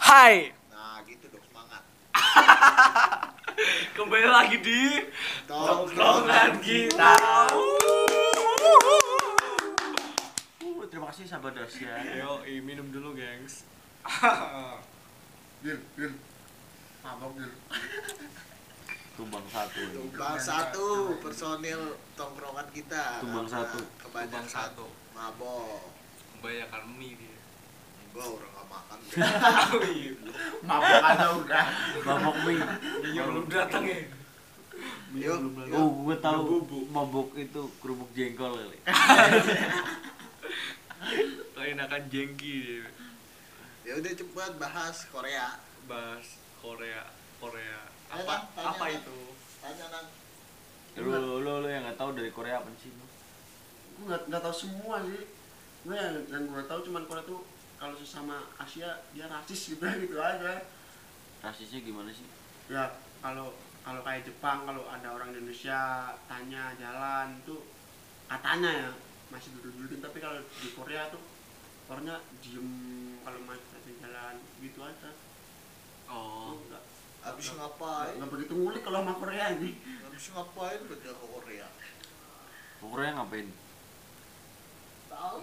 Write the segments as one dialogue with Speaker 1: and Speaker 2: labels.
Speaker 1: Hai.
Speaker 2: Nah, gitu dong semangat.
Speaker 1: Kembali lagi di
Speaker 2: Tongkrongan
Speaker 1: kita.
Speaker 3: Uh, terima kasih sahabat Dasya.
Speaker 1: Yo, minum dulu, gengs.
Speaker 4: Dir, dir. Mabok, dir.
Speaker 3: Tumbang satu.
Speaker 2: Tumbang satu personil tongkrongan kita.
Speaker 3: Tumbang
Speaker 2: Karena
Speaker 3: satu.
Speaker 2: Kebanyakan
Speaker 1: Tumbang satu.
Speaker 2: Mabok.
Speaker 1: Kebanyakan mie dia.
Speaker 2: Gua orang gak makan.
Speaker 1: Oh iya,
Speaker 4: Mabok aja udah.
Speaker 3: Mabok mie.
Speaker 1: Nyonya belum datang ya.
Speaker 2: Yo,
Speaker 3: Oh, gue tahu
Speaker 1: Bubuk.
Speaker 3: mabok itu kerupuk jengkol kali.
Speaker 1: Enakan jengki dia.
Speaker 2: ya udah cepat bahas Korea.
Speaker 1: Bahas Korea, Korea.
Speaker 2: Ayo,
Speaker 1: Apa?
Speaker 2: tanya,
Speaker 1: Apa
Speaker 2: Bang.
Speaker 1: itu?
Speaker 2: Tanya nang.
Speaker 3: Lu lu lu yang nggak tahu dari Korea apa sih? Lu?
Speaker 4: Gue nggak nggak tahu semua sih. Gue yang yang gue tahu cuman Korea tuh kalau sesama Asia dia rasis gitu gitu aja.
Speaker 3: Rasisnya gimana sih?
Speaker 4: Ya kalau kalau kayak Jepang kalau ada orang Indonesia tanya jalan tuh katanya ya masih duduk-dudukin tapi kalau di Korea tuh orangnya diem kalau masih tanya jalan gitu aja.
Speaker 1: Oh.
Speaker 4: Nggak-
Speaker 2: Habis
Speaker 4: Nggak-
Speaker 2: ngapain?
Speaker 4: nggak begitu ngulik kalau sama Korea ini.
Speaker 2: Habis ngapain beda ke Korea?
Speaker 3: Korea ngapain?
Speaker 2: Tahu?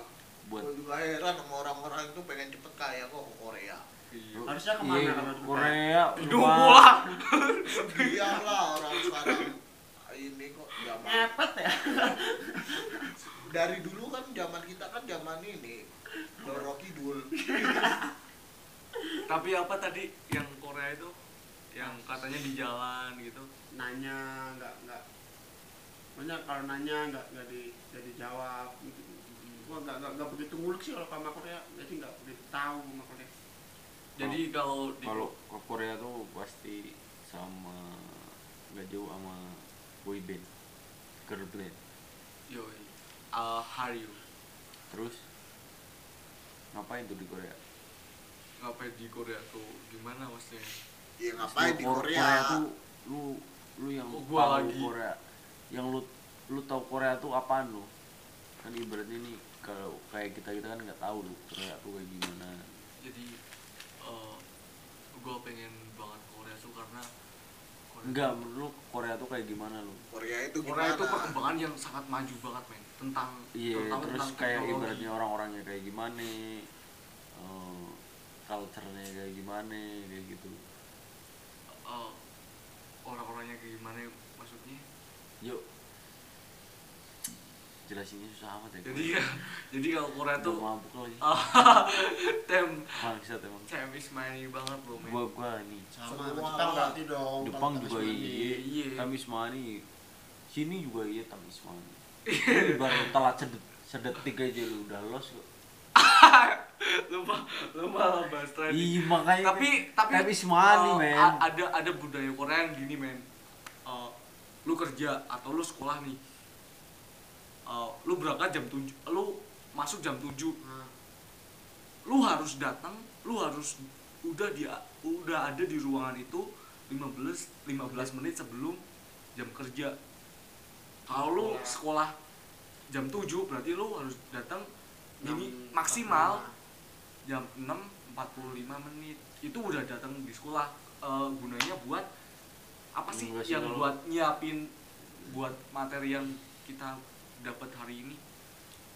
Speaker 3: Buat
Speaker 2: Gua juga heran sama orang-orang itu pengen cepet kaya kok ke Korea.
Speaker 1: Iya.
Speaker 4: Harusnya kemana
Speaker 3: Iya,
Speaker 4: kalau di
Speaker 3: Korea?
Speaker 1: Hidup
Speaker 3: cuma-
Speaker 1: gua.
Speaker 2: Biarlah orang sekarang ini kok zaman
Speaker 4: Ngepet ya.
Speaker 2: dari dulu kan zaman kita kan zaman ini Doro Kidul
Speaker 1: Tapi apa tadi yang Korea itu yang katanya di jalan gitu.
Speaker 4: nanya nggak nggak banyak kalau nanya nggak nggak di nggak dijawab gitu gua nggak nggak nggak begitu ngulik sih kalau sama Korea jadi nggak begitu tahu sama Korea
Speaker 1: Jadi kalau di
Speaker 3: Oh. Kalau ke Korea tuh pasti sama nggak jauh sama boy band, girl band.
Speaker 1: Yoi. Uh, how are you?
Speaker 3: Terus ngapain tuh di Korea?
Speaker 1: Ngapain di Korea tuh? Gimana maksudnya?
Speaker 2: ya
Speaker 3: Lu
Speaker 2: ngapain di
Speaker 3: Kor-
Speaker 2: Korea,
Speaker 3: tuh lu lu yang
Speaker 1: Oh,
Speaker 3: tahu
Speaker 1: gua lagi.
Speaker 3: Korea yang lu lu tahu Korea tuh apaan lu kan ibaratnya nih kalau kayak kita kita kan nggak tahu lu Korea tuh kayak gimana
Speaker 1: Jadi eh gue pengen banget Korea tuh karena Korea
Speaker 3: enggak menurut lu Korea tuh kayak gimana lu
Speaker 2: Korea itu gimana
Speaker 1: Korea itu perkembangan yang sangat maju banget men tentang
Speaker 3: iya
Speaker 1: terutama
Speaker 3: terus
Speaker 1: tentang
Speaker 3: kayak
Speaker 1: teknologi.
Speaker 3: ibaratnya orang-orangnya kayak gimana eh culture-nya kayak gimana kayak gitu
Speaker 1: Eh, orang-orangnya kayak gimana maksudnya
Speaker 3: yuk jelasinnya susah amat ya
Speaker 1: jadi ya jadi kalau Korea
Speaker 3: Udah
Speaker 1: tuh Ah.
Speaker 3: mabuk lagi
Speaker 1: tem
Speaker 3: bangsat emang
Speaker 1: tem is money banget loh men
Speaker 3: gua gua nih
Speaker 2: Sama,
Speaker 4: Sama,
Speaker 2: Jepang
Speaker 4: Jepang
Speaker 2: berarti
Speaker 4: berarti dong
Speaker 3: Jepang juga iya,
Speaker 1: Iya.
Speaker 3: Tamis Mani. Sini juga iya Tamis Mani. Lu
Speaker 1: Iya.
Speaker 3: Baru telat sedet, sedetik aja lu udah los kok.
Speaker 1: lupa lupa lah bahas trending
Speaker 3: Ih, makanya
Speaker 1: tapi tapi
Speaker 3: Tamis Mani,
Speaker 1: eh,
Speaker 3: men.
Speaker 1: a- ada ada budaya Korea yang gini men Eh, lu kerja atau lu sekolah nih Eh, lu berangkat jam 7 lu masuk jam 7 lu harus datang lu harus udah dia udah ada di ruangan itu 15 15 menit sebelum jam kerja kalau lu
Speaker 4: Iya.
Speaker 1: sekolah jam 7 berarti lu harus datang ini maksimal jam 6 45 menit itu udah datang di sekolah Eh, gunanya buat apa sih
Speaker 3: Enggak sih,
Speaker 1: yang
Speaker 3: kalau-
Speaker 1: buat nyiapin buat materi yang kita dapat hari ini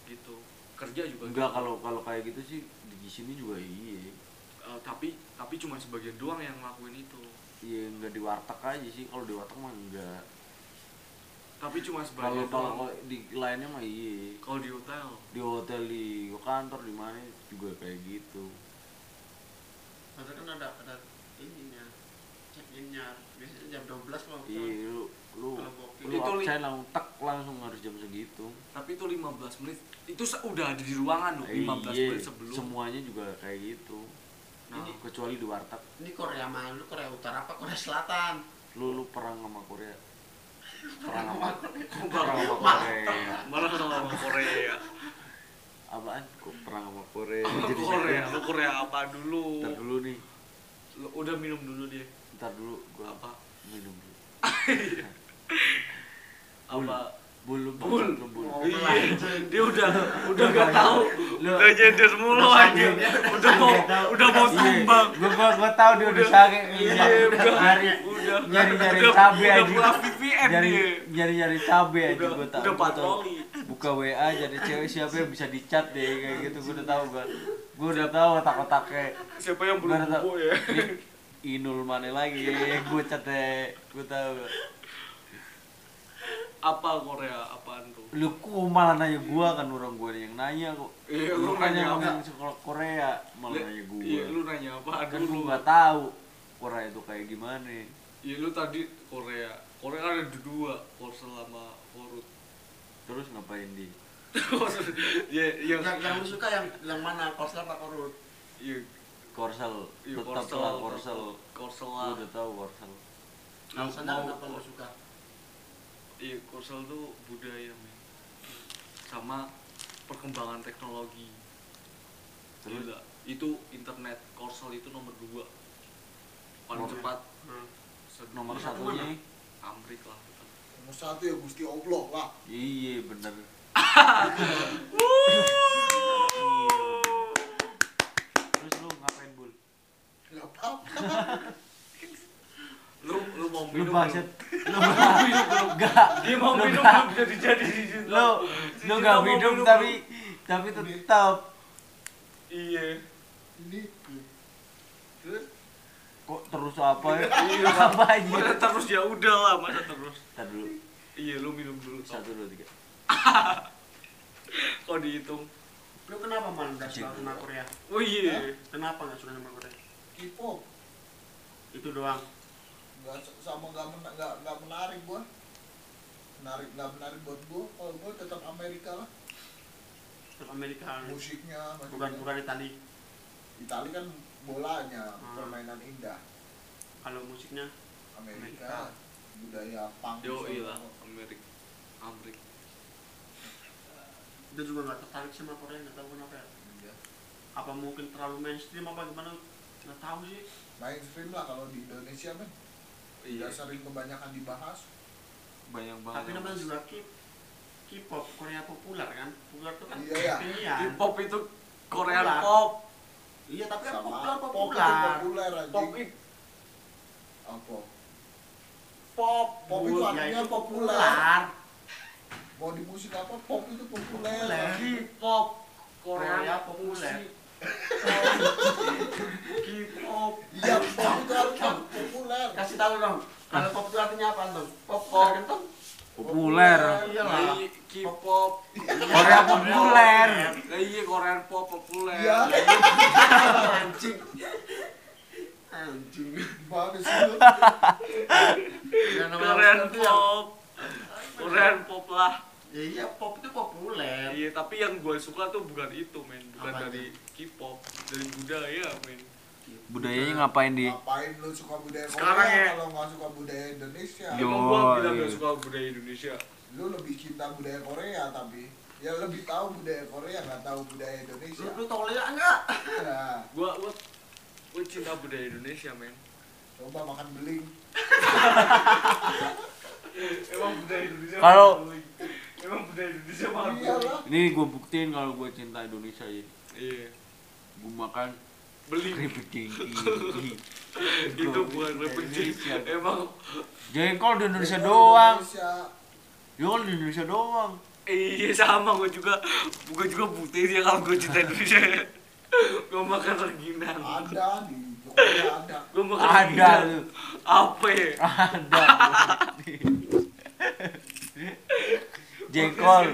Speaker 1: gitu kerja juga
Speaker 3: enggak
Speaker 1: gitu.
Speaker 3: kalau kalau kayak gitu sih di sini juga iya.
Speaker 1: Eh, tapi tapi cuma sebagian doang yang ngelakuin itu
Speaker 3: Iya enggak di warteg aja sih. Kalau di warteg mah enggak.
Speaker 1: tapi cuma
Speaker 3: Kalau kalau
Speaker 1: sebagian doang
Speaker 3: kalau di lainnya mah iya.
Speaker 1: kalau di hotel
Speaker 3: Di hotel di kantor di mana juga kayak gitu.
Speaker 4: ada kan ada ada ininya check innya biasanya jam 12 kalau
Speaker 3: Iya lu lu
Speaker 4: Kalau bokeh.
Speaker 3: lu
Speaker 1: Itu gitu, li-
Speaker 3: absen langsung tek langsung harus jam segitu.
Speaker 1: tapi itu 15 menit itu se- udah ada di ruangan loh 15
Speaker 3: Iya,
Speaker 1: menit sebelum
Speaker 3: semuanya juga kayak gitu.
Speaker 1: Nah.
Speaker 3: Ini kecuali di warteg
Speaker 4: ini Korea mana lu Korea Utara apa Korea Selatan
Speaker 3: lu lu perang sama Korea perang sama perang
Speaker 1: Barang
Speaker 3: sama
Speaker 1: sama-
Speaker 3: Korea
Speaker 1: barang sama Korea
Speaker 3: apaan kok perang sama Korea
Speaker 1: Sama
Speaker 3: jadi
Speaker 1: Korea lu Korea apa dulu
Speaker 3: ntar dulu nih
Speaker 1: Lu udah minum dulu deh
Speaker 3: ntar dulu gua
Speaker 1: apa
Speaker 3: minum dulu
Speaker 1: apa
Speaker 3: belum
Speaker 1: Bul.
Speaker 3: belum belum
Speaker 1: Iya, dia udah udah nggak tahu
Speaker 3: lu Lu-
Speaker 1: Legender mulu
Speaker 4: Udah
Speaker 1: aja.
Speaker 4: sambil-
Speaker 1: Udah mau
Speaker 4: sambil tahu.
Speaker 1: udah mau
Speaker 3: Iya.
Speaker 1: tumbang.
Speaker 3: Gue gua gua tahu dia udah sange
Speaker 1: Iya, udah
Speaker 3: nyari
Speaker 1: udah
Speaker 3: nyari-nyari
Speaker 1: udah-
Speaker 3: cabe
Speaker 1: udah
Speaker 3: aja.
Speaker 1: pulang VPN
Speaker 3: nyari
Speaker 1: dia.
Speaker 3: nyari nyari cabe aja
Speaker 1: Udah
Speaker 3: gue tahu.
Speaker 1: udah
Speaker 3: gua tahu.
Speaker 1: patroli.
Speaker 3: Buka WA jadi cewek siapa yang bisa dicat deh kayak gitu gue udah tahu gue. Gue udah tahu otak-otaknya.
Speaker 1: Siapa yang belum
Speaker 3: Gua udah tahu.
Speaker 1: bobo ya?
Speaker 3: Ini Inul mana lagi gue cat deh. Gue tahu.
Speaker 1: Apa Korea apaan tuh?
Speaker 3: Lu kok malah nanya gue kan orang gue yang nanya kok.
Speaker 1: Iya,
Speaker 3: Lu
Speaker 1: lu nanya
Speaker 3: nanya
Speaker 1: apa?
Speaker 3: ngomong sekolah Korea malah
Speaker 1: Le-
Speaker 3: nanya
Speaker 1: Iya,
Speaker 3: gue.
Speaker 1: lu nanya apaan
Speaker 3: Kan gue
Speaker 1: dulu?
Speaker 3: nggak tahu Korea itu kayak gimana.
Speaker 1: Iya, lu tadi Korea. Korea kan ada dua, Korsel sama Korut.
Speaker 3: Terus ngapain di?
Speaker 1: Iya, iya.
Speaker 4: yang yang lu suka yang yang mana korsel apa korut
Speaker 1: Iya,
Speaker 3: Korsel,
Speaker 1: iya,
Speaker 3: tetap lah Korsel.
Speaker 1: Korsel
Speaker 3: Gue
Speaker 1: lah.
Speaker 3: udah tahu Korsel.
Speaker 4: alasannya
Speaker 1: Mau-
Speaker 4: kenapa lu suka
Speaker 1: Iya, Korsel tuh budaya, men. Sama perkembangan teknologi.
Speaker 3: Terus?
Speaker 1: Gila, itu internet Korsel itu nomor dua paling
Speaker 3: Nomor-
Speaker 1: cepat
Speaker 4: Hmm.
Speaker 1: sedunia.
Speaker 3: Nomor
Speaker 4: Korsel
Speaker 3: satunya?
Speaker 1: Amrik lah Iya.
Speaker 2: Nomor satu ya Gusti Allah lah.
Speaker 3: Iya bener. Terus lu ngapain bul?
Speaker 2: Gak apa-apa.
Speaker 1: lu lu mau
Speaker 3: Lu
Speaker 1: minum
Speaker 3: bahasnya,
Speaker 1: belum?
Speaker 3: lu gak,
Speaker 1: dia mau
Speaker 3: Lu
Speaker 1: minum
Speaker 3: bahas-
Speaker 1: belum jadi jadi
Speaker 3: lu lu gak minum tapi tapi tetap
Speaker 1: iya
Speaker 2: Ini gue. Terus
Speaker 3: kok terus apa ya?
Speaker 1: Iya,
Speaker 3: Apa aja?
Speaker 1: masa terus ya udah lah masa terus
Speaker 3: Ntar dulu,
Speaker 1: iya lu minum dulu
Speaker 3: satu dua tiga.
Speaker 1: kok dihitung
Speaker 4: lu kenapa malah nggak suka
Speaker 3: Kecil.
Speaker 4: sama Korea Eh,
Speaker 1: oh iya
Speaker 4: kenapa nggak suka sama Korea
Speaker 2: K-pop
Speaker 4: itu doang
Speaker 2: nggak sama nggak mena, nggak nggak menarik gua. Menarik nggak menarik buat gua. Kalau gua tetap Amerika lah.
Speaker 4: terus Amerika
Speaker 2: Musiknya maksudnya.
Speaker 4: bukan bukan Itali
Speaker 2: Itali kan bolanya
Speaker 4: Hmm.
Speaker 2: permainan indah.
Speaker 4: kalau musiknya
Speaker 2: Amerika budaya punk.
Speaker 1: yo iya
Speaker 2: semua.
Speaker 1: Amerik Amrik
Speaker 4: dia juga nggak tertarik sama Korea nggak tahu kenapa ya
Speaker 2: Iya.
Speaker 4: apa mungkin terlalu mainstream apa gimana nggak tahu sih
Speaker 2: Mainstream lah kalau di Indonesia men.
Speaker 1: iya
Speaker 2: Nggak sering kebanyakan dibahas.
Speaker 3: Banyak banget.
Speaker 4: tapi namanya juga K K-pop Korea populer kan populer itu kan
Speaker 2: Iya, iya.
Speaker 4: kekinian.
Speaker 1: K-pop itu Korean
Speaker 4: Popular.
Speaker 1: pop
Speaker 4: iya tapi kan populer
Speaker 2: Sama pop itu
Speaker 4: populer
Speaker 2: populer
Speaker 1: pop
Speaker 2: anjing.
Speaker 1: it-
Speaker 2: Apa?
Speaker 1: pop
Speaker 2: Pop itu
Speaker 4: Ya,
Speaker 2: artinya
Speaker 4: itu
Speaker 2: populer. Mau di musik apa pop itu populer.
Speaker 4: Populer.
Speaker 1: K-pop Korea
Speaker 4: Korea
Speaker 1: pop
Speaker 4: populer.
Speaker 1: musik K-pop
Speaker 2: Iya, pop itu artinya populer.
Speaker 4: kasih tahu dong kalau pop itu artinya apa dong pop
Speaker 1: Pop.
Speaker 4: kan tuh
Speaker 3: Populer.
Speaker 4: iya lah
Speaker 1: K-pop
Speaker 3: Korea populer.
Speaker 1: Lah iya Korean pop populer
Speaker 2: Iya,
Speaker 4: anjing anjing
Speaker 2: gimana sih lu?
Speaker 4: Yang namanya
Speaker 1: Korean
Speaker 4: itu yang-
Speaker 1: pop Korean pop lah
Speaker 4: ya iya pop itu populer
Speaker 1: Iya, tapi yang gue suka tuh bukan itu, men. Bukan
Speaker 4: Apa
Speaker 1: dari K-pop, dari budaya, ya, men.
Speaker 3: Budayanya ngapain di?
Speaker 2: Ngapain lu suka budaya
Speaker 1: Sekarang ya.
Speaker 2: Korea kalau nggak suka budaya Indonesia?
Speaker 3: Yo.
Speaker 1: Emang gue bilang
Speaker 3: iya.
Speaker 1: gak suka budaya Indonesia.
Speaker 2: Lu lebih cinta budaya Korea tapi ya lebih tahu budaya Korea nggak tahu budaya
Speaker 4: lu
Speaker 2: Indonesia.
Speaker 4: Iya. lu tau lihat enggak
Speaker 2: Nah,
Speaker 1: Gue gue gue cinta budaya Indonesia, men.
Speaker 2: coba makan beling.
Speaker 1: Emang budaya Indonesia.
Speaker 3: Kalau-
Speaker 1: mahal, men. emang budaya Indonesia mahal.
Speaker 2: Iyalah.
Speaker 3: Ini gue buktiin kalau gue cinta Indonesia ya.
Speaker 1: Iya.
Speaker 3: Gue makan
Speaker 1: Beli
Speaker 3: keripik jengki.
Speaker 1: itu bukan repeat. Emang
Speaker 3: Jengkol di Indonesia
Speaker 2: Budaya
Speaker 3: doang.
Speaker 2: Indonesia.
Speaker 3: Jengkol di Indonesia doang.
Speaker 1: iya sama gue juga. Gue juga buta sih kalau gue cinta Indonesia. gue makan rengginang.
Speaker 2: Ada di Korea ada.
Speaker 1: Gue makan
Speaker 3: Ada
Speaker 1: rengginang.
Speaker 3: lu.
Speaker 1: Apa ya?
Speaker 3: Ada. jengkol.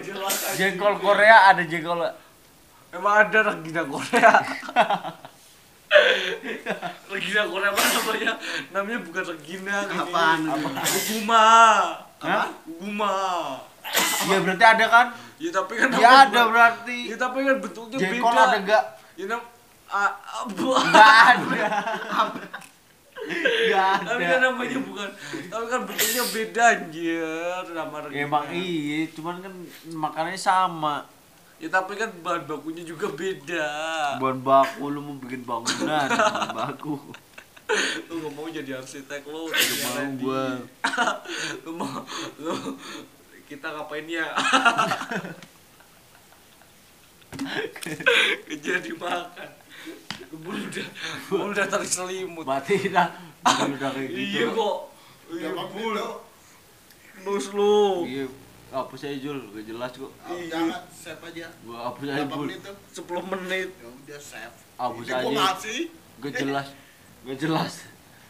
Speaker 3: Jengkol Korea ada jengkol.
Speaker 1: Emang ada rengginang Korea? rengginang Korea apa namanya? Namanya bukan rengginang. ini.
Speaker 4: Apaan itu?
Speaker 1: Guguma.
Speaker 3: Hah?
Speaker 1: Guguma.
Speaker 3: Ya berarti ada kan?
Speaker 1: Ya tapi kan
Speaker 3: Ya
Speaker 1: namanya
Speaker 3: ada
Speaker 1: bukan-
Speaker 3: berarti.
Speaker 1: Ya tapi kan bentuknya
Speaker 3: Jengkol
Speaker 1: beda.
Speaker 3: ada enggak?
Speaker 1: Ya nam a- a- bu-
Speaker 3: Enggak ada. Enggak
Speaker 1: tapi
Speaker 3: ada.
Speaker 1: kan namanya bukan. Tapi kan bentuknya beda anjir sama
Speaker 3: Ya,
Speaker 1: rengginang.
Speaker 3: Emang iya, cuman kan makanannya sama.
Speaker 1: Ya tapi kan bahan bakunya juga beda.
Speaker 3: Bukan baku lu mau bikin bangunan, bukan baku.
Speaker 1: Lu gak mau jadi arsitek lu.
Speaker 3: Gak
Speaker 2: Iya,
Speaker 1: jadi
Speaker 3: mau
Speaker 1: R&D.
Speaker 3: gua.
Speaker 1: lu mau lu kita ngapain ya kejar dimakan gue udah gue udah tarik selimut
Speaker 3: berarti dah bukan udah kayak gitu
Speaker 1: iya kok iya
Speaker 2: Jangan
Speaker 1: bul
Speaker 2: gitu.
Speaker 1: nus lu
Speaker 3: iya hapus aja jul gak jelas kok
Speaker 2: Ah,
Speaker 1: Iya.
Speaker 2: Jangan, save aja.
Speaker 3: gua hapus aja
Speaker 2: Berapa
Speaker 3: jul
Speaker 2: menit tuh?
Speaker 1: 10 menit
Speaker 2: Ya udah save.
Speaker 3: hapus
Speaker 2: Ini gua
Speaker 3: aja
Speaker 2: ngasih.
Speaker 3: gak jelas gak jelas